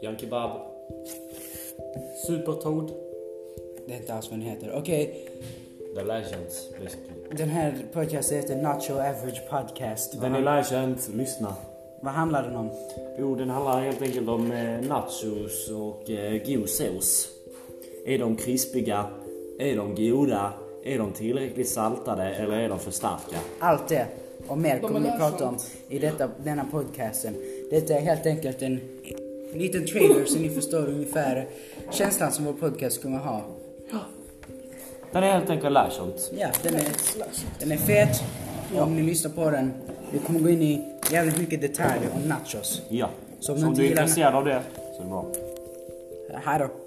Jan Kebab. Supertoad. Det är inte alls vad den heter. Okej, The Legends basically. den här podcasten heter Nacho Average Podcast. Vad, Den är han, läkänd, lyssna. vad handlar den om? Jo, den handlar helt enkelt om eh, nachos och eh, god sås. Är de krispiga? Är de goda? Är de tillräckligt saltade eller är de för starka? Allt det och mer De kommer är vi där prata om i detta, denna podcasten. Detta är helt enkelt en liten trailer så ni förstår ungefär känslan som vår podcast kommer ha. Den är helt enkelt läkänd. Ja, den är, den är fet. Om ni lyssnar på den, vi kommer gå in i jävligt mycket detaljer om nachos. Ja. Så om Så du om inte du är gillar- intresserad av det så är det bra. Hej då.